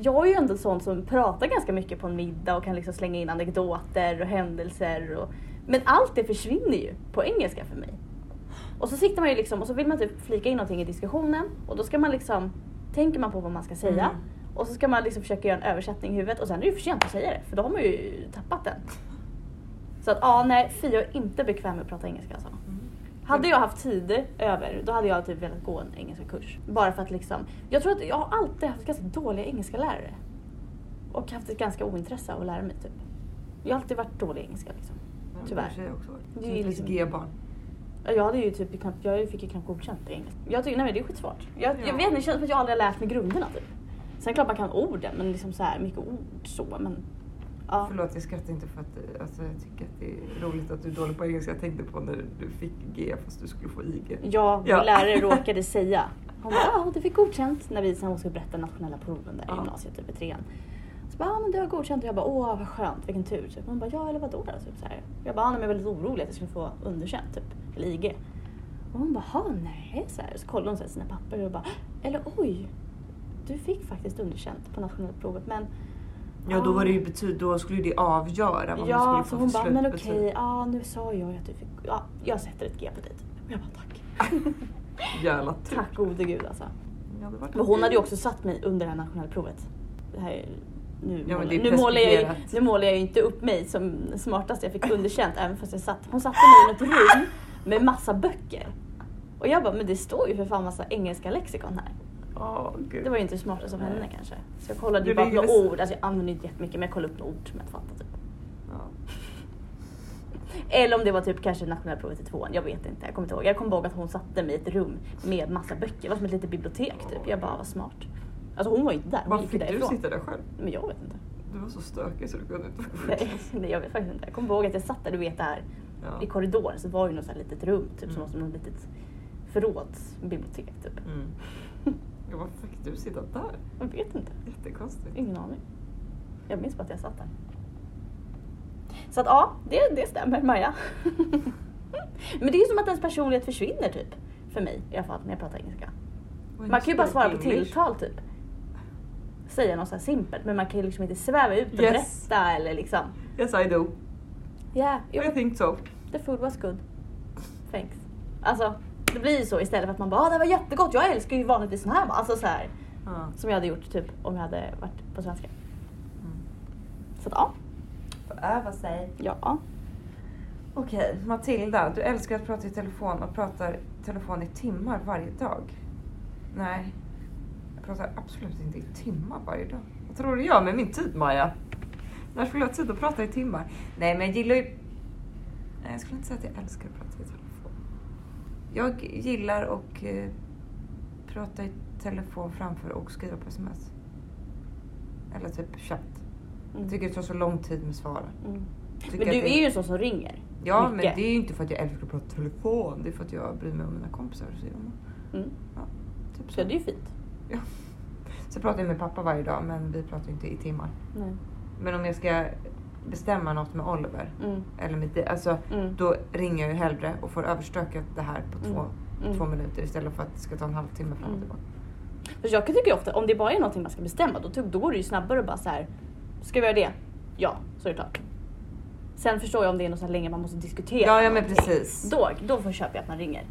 Jag är ju ändå sån som pratar ganska mycket på en middag och kan liksom slänga in anekdoter och händelser. Och, men allt det försvinner ju på engelska för mig. Och så sitter man ju liksom och så vill man typ flika in någonting i diskussionen och då ska man liksom, tänker man på vad man ska säga Mm. och så ska man liksom försöka göra en översättning i huvudet och sen är det ju för sent att säga det för då har man ju tappat den. Så att ja, nej, fy jag är inte bekväm med att prata engelska Mm. alltså. Hade jag haft tid över, då hade jag typ velat gå en engelska kurs. Bara för att liksom, jag tror att jag har alltid haft ganska dåliga engelska lärare. Och haft ett ganska ointresse av att lära mig typ. Jag har alltid varit dålig i engelska liksom. Tyvärr. Det är också. Det är Det är liksom- G-barn. Ja, Jag hade ju typ knappt, jag fick ju knappt godkänt i engelska. Jag tycker, nej men det är skitsvårt. Jag, Ja. jag vet inte, det känns som att jag aldrig har lärt mig grunderna typ. Sen klart man kan orden, men liksom så här mycket ord så men. Ja. Förlåt, jag skrattar inte för att alltså, jag tycker att det är roligt att du är dålig på engelska. Jag tänkte på när du fick G fast du skulle få IG. Ja, min typ Ja. [LAUGHS] lärare råkade säga. Hon bara, ah, du fick godkänt när vi sen skulle berätta nationella proven där i Ja. gymnasiet, typ i trean. Så bara, ah, men du har godkänt och jag bara, åh vad skönt, vilken tur. Typ. Hon bara, ja eller vadå då? Typ så här. Jag bara, ah, nej, men jag är väldigt orolig att jag skulle få underkänt, typ, eller IG. Och hon bara, ah, nej. Så, här. så kollade hon så här, sina papper och bara, eller oj, du fick faktiskt underkänt på nationella provet men Ja, då var det ju betyd, då skulle det avgöra vad ja, man så skulle hon få för bara, men slutbetyg. okej, ja nu sa jag ju att du fick, ja, jag sätter ett G på dig. typ. Och jag bara, tack. [LAUGHS] Jävla tur. Tack gode gud alltså. Ja, det var det. Men hon hade ju också satt mig under det här nationella provet. Det här är, nu, Ja, men målar, det är nu, målar jag ju, preskriberat. nu målar jag ju inte upp mig som smartast, jag fick underkänt även fast jag satt. Hon satte mig i något rum med massa böcker. Och jag bara, men det står ju för fan massa engelska lexikon här. Åh, gud. Det var ju inte det smarta som hände kanske. Så jag kollade ju Du bara upp ligger några med- ord, alltså jag använde inte jättemycket men jag kollade upp några ord som jag inte fattade. Typ. Ja. Eller om det var typ kanske nationalprovet i tvåan, jag vet inte. Jag kommer inte ihåg. Jag kommer bara ihåg att hon satte mig i ett rum med massa böcker, det var som ett litet bibliotek typ. Jag bara, vad smart. Alltså hon var ju inte där, hon Varför gick ju fick du därifrån. sitta där själv? Men jag vet inte. Du var så stökig så du kunde inte vara Nej, [LAUGHS] nej jag vet faktiskt inte. Jag kommer ihåg att jag satt där, du vet där i ja. korridoren så var det ju något så här litet rum typ Mm. som var som något litet förrådsbibliotek typ. mm. ja, Varför fick du sitta där? [LAUGHS] Jag vet inte. Jättekonstigt. Ingen aning. Jag minns bara att jag satt där. Så att ja, det, det stämmer Maja. [LAUGHS] Men det är ju som att ens personlighet försvinner typ. För mig i alla fall när jag pratar engelska. When Man kan ju bara speak svara på English. tilltal typ. Säga något så här simpelt men man kan ju liksom inte sväva ut och Yes. berätta eller liksom. Yes I do. Yeah, you I think so. the food was good. Thanks. Alltså det blir ju så istället för att man bara ah, det var jättegott, jag älskar ju vanligtvis sån här. Alltså så här Ja. som jag hade gjort typ om jag hade varit på svenska. Mm. Så att ja. Föröva sig. Ja. Okej, Matilda, du älskar att prata i telefon och pratar i telefon i timmar varje dag. Nej, jag pratar absolut inte i timmar varje dag. Vad tror du jag med min tid, Maja? När skulle jag ha tid att prata i timmar? Nej, men jag gillar ju... Nej, jag skulle inte säga att jag älskar att prata i telefon. Jag gillar att eh, prata i telefon framför och skriva på sms. Eller typ chatt. Mm. Jag tycker det tar så lång tid med svaren. Mm. Tycker Men att du det- är ju så som ringer. Ja, men Mycket. det är ju inte för att jag älskar att prata telefon. Det är för att jag bryr mig om mina kompisar. Så, jag, Mm. typ så. Så det är ju fint. Ja. så pratar jag med pappa varje dag, men vi pratar ju inte i timmar. Nej. Men om jag ska bestämma något med Oliver, Mm. eller med dig, alltså, Mm. då ringer jag ju hellre och får överstökat det här på två, Mm. två minuter istället för att det ska ta en halvtimme fram och Mm. tillbaka. För jag tycker ju ofta om det bara är någonting man ska bestämma då, typ- då går det ju snabbare och bara så här. Ska vi göra det? Ja, så är det klart. Sen förstår jag om det är något så här länge man måste diskutera. Ja, ja men någonting. precis. Då, då får köpa att man ringer.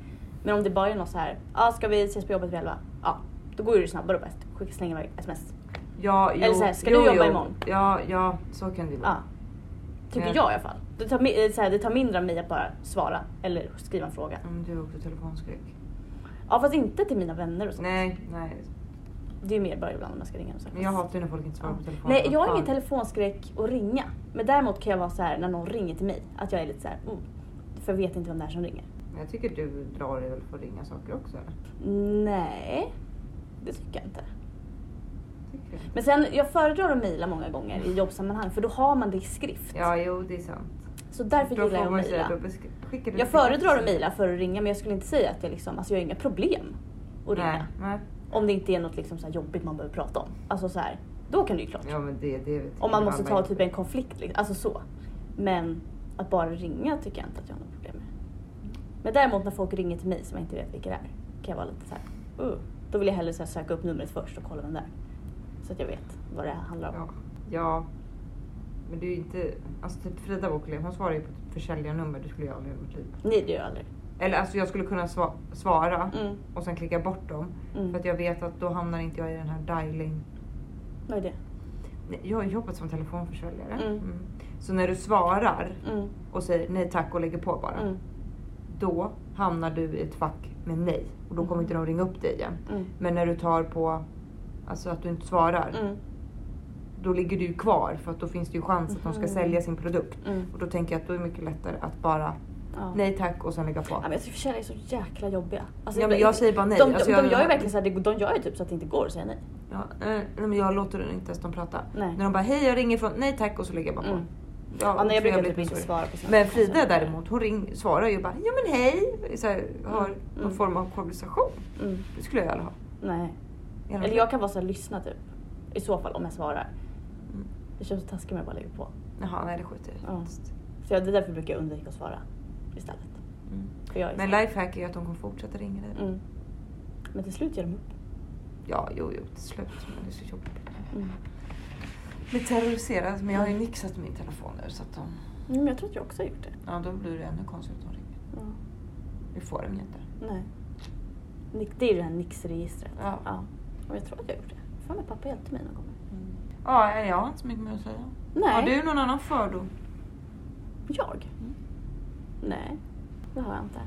Men om det bara är något så här, ah, ska vi ses på jobbet vid elva? Ja, då går det ju snabbare att bara skicka slänga iväg sms. Ja, jo, Eller så här, ska jo, du jobba jo. imorgon? Ah. Ja, ja, så kan det ju vara. Ja. Tycker Ja. jag i alla fall. Det tar, mi- eh, så här, det tar mindre av mig att bara svara eller skriva en fråga. Om du har också telefonskräck. Ja fast inte till mina vänner och sånt. Nej, nej. Det är mer bara ibland om jag ska ringa. och så här. Men jag hatar ju när folk inte svarar Ja. på telefon. Nej, jag har ingen telefonskräck att ringa. Men däremot kan jag vara så här när någon ringer till mig, att jag är lite så här, oh, för jag vet inte vem det är som ringer. Men Jag tycker du drar dig väl på att ringa saker också? Eller? Nej, det tycker jag inte. Tycker du? Men sen, jag föredrar att mejla många gånger i jobbsammanhang för då har man det i skrift. Ja, jo det är sant. Så därför Då gillar får jag att man säga, mejla. då besk- skickar du Jag till- föredrar att mejla för att ringa men jag skulle inte säga att jag liksom, alltså jag har inga problem att ringa. Nej, nej. Om det inte är något liksom så här jobbigt man behöver prata om. Alltså så här, då kan det ju klart. Ja men det, det vet Om jag. man måste ta Alla- typ en konflikt, liksom. alltså så. Men att bara ringa tycker jag inte att jag har något problem med. Men däremot när folk ringer till mig som jag inte vet vilka det är, kan jag vara lite så här, uh. Då vill jag hellre så här, söka upp numret först och kolla vem det är. Så att jag vet vad det här handlar om. Ja. ja. Men det är ju inte, alltså typ Frida Bokelén hon svarar ju på typ försäljarnummer, det skulle jag aldrig göra i mitt liv. Nej, det gör jag aldrig. Eller alltså jag skulle kunna sva- svara Mm. och sen klicka bort dem. Mm. För att jag vet att då hamnar inte jag i den här dialing. Vad är det? Nej, Jag har ju jobbat som telefonförsäljare. Mm. Så när du svarar Mm. och säger nej tack och lägger på bara. Mm. då hamnar du i ett fack med nej och då kommer inte de ringa upp dig igen. Mm. Men när du tar på alltså att du inte svarar, Mm. då ligger du ju kvar för att då finns det ju chans att de ska Mhm. sälja sin produkt. Mm. Och då tänker jag att då är det mycket lättare att bara Ja. nej tack och sen lägga på. Ja, men jag tycker försäljare är så jäkla jobbiga. Alltså, Ja, men ibland- jag säger bara nej. De, de, Alltså, de, jag- gör ju verkligen så här, det- de gör ju typ så att det inte går att säga nej. Ja, nej, nej, men jag låter inte ens dem prata. Nej. När de bara hej jag ringer från nej tack och så lägger jag bara på. Mm. Ja, Ja, nej, så jag brukar blir typ inte sorry. svara på såna Men här Frida saker. däremot hon ring, svarar ju bara ja men hej. Så här, har Mm. någon Mm. form av konversation. Mm. Det skulle jag aldrig ha. Nej. Hela Eller mitt jag kan vara så här, lyssna typ. I så fall om jag svarar. Mm. Det känns så taskigt om jag bara lägger på. Jaha, nej det skiter jag i Mm. Ja. faktiskt. Så jag, det är därför brukar jag undvika att svara istället. Mm. För jag är Men så- lifehack är att de kommer fortsätta ringa dig. mm. Men till slut ger de upp. Ja, jo, jo, till slut. Men det är så jobbigt. Mm. Blir terroriserad, men jag har ju nixat min telefon nu så att de... Nej, Men jag tror att jag också har gjort det. Ja, då blir det ännu konstigt att de ringer. Ja. Vi får dem ju inte. Nej. Nick- Det är ju det här Nix-registret. Ja. ja. Mm. Och jag tror att jag har gjort det. Fan, min pappa hjälpte mig någon gång. Ja, jag har inte så mycket mer att säga. Nej. Har du någon annan fördom? Jag? Mm. Nej, det har jag inte.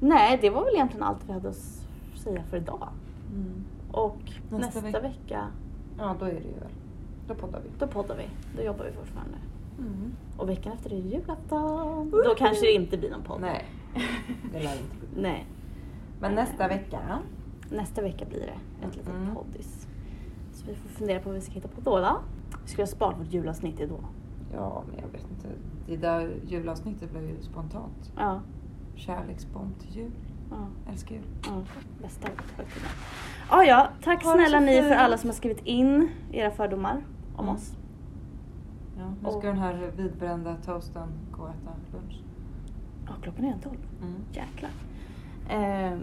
Nej, det var väl egentligen allt vi hade att s- säga för idag. Mm. Och Nästa nästa, veck- vecka, Ja, då är det ju väl. Då poddar vi. då poddar vi. Då jobbar vi fortfarande. Mm. Och veckan efter är det julafton. Då kanske det inte blir någon podd. [LAUGHS] Nej, det lär inte bli. Nej. Men nästa vecka. Nästa vecka blir det ett litet Mm. poddis. Så vi får fundera på vad vi ska hitta på då. då. Vi skulle ha sparat vårt julavsnitt till då. Ja, men jag vet inte. Det där julavsnittet blev ju spontant. Ja. Kärleksbomb till jul. ja. Älskar jul. Ja, bästa högtiden. Ja, Ah, ja, tack Ha det snälla så ni för fint. alla som har skrivit in era fördomar om Mm. oss. Ja, nu ska Och- den här vidbrända toasten gå och äta lunch. Ja, klockan är redan tolv. Mm. Jäklar. Ehm,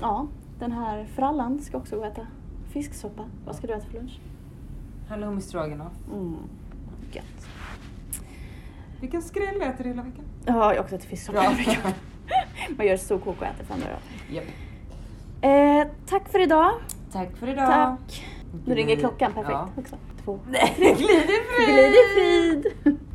ja, den här frallan ska också gå och äta fisksoppa. Vad ska du äta för lunch? Halloumi stroganoff. Mm. Gött. Vilken skräll äter du hela veckan? Ja, jag har också ätit fisksoppa Bra. i veckan. Man gör storkok och äter fem dagar i rad. Japp. eh, Tack för idag. Tack för idag. Tack. Nu ringer klockan perfekt Ja. också. Två. Glid i frid. Glid i frid! [LAUGHS]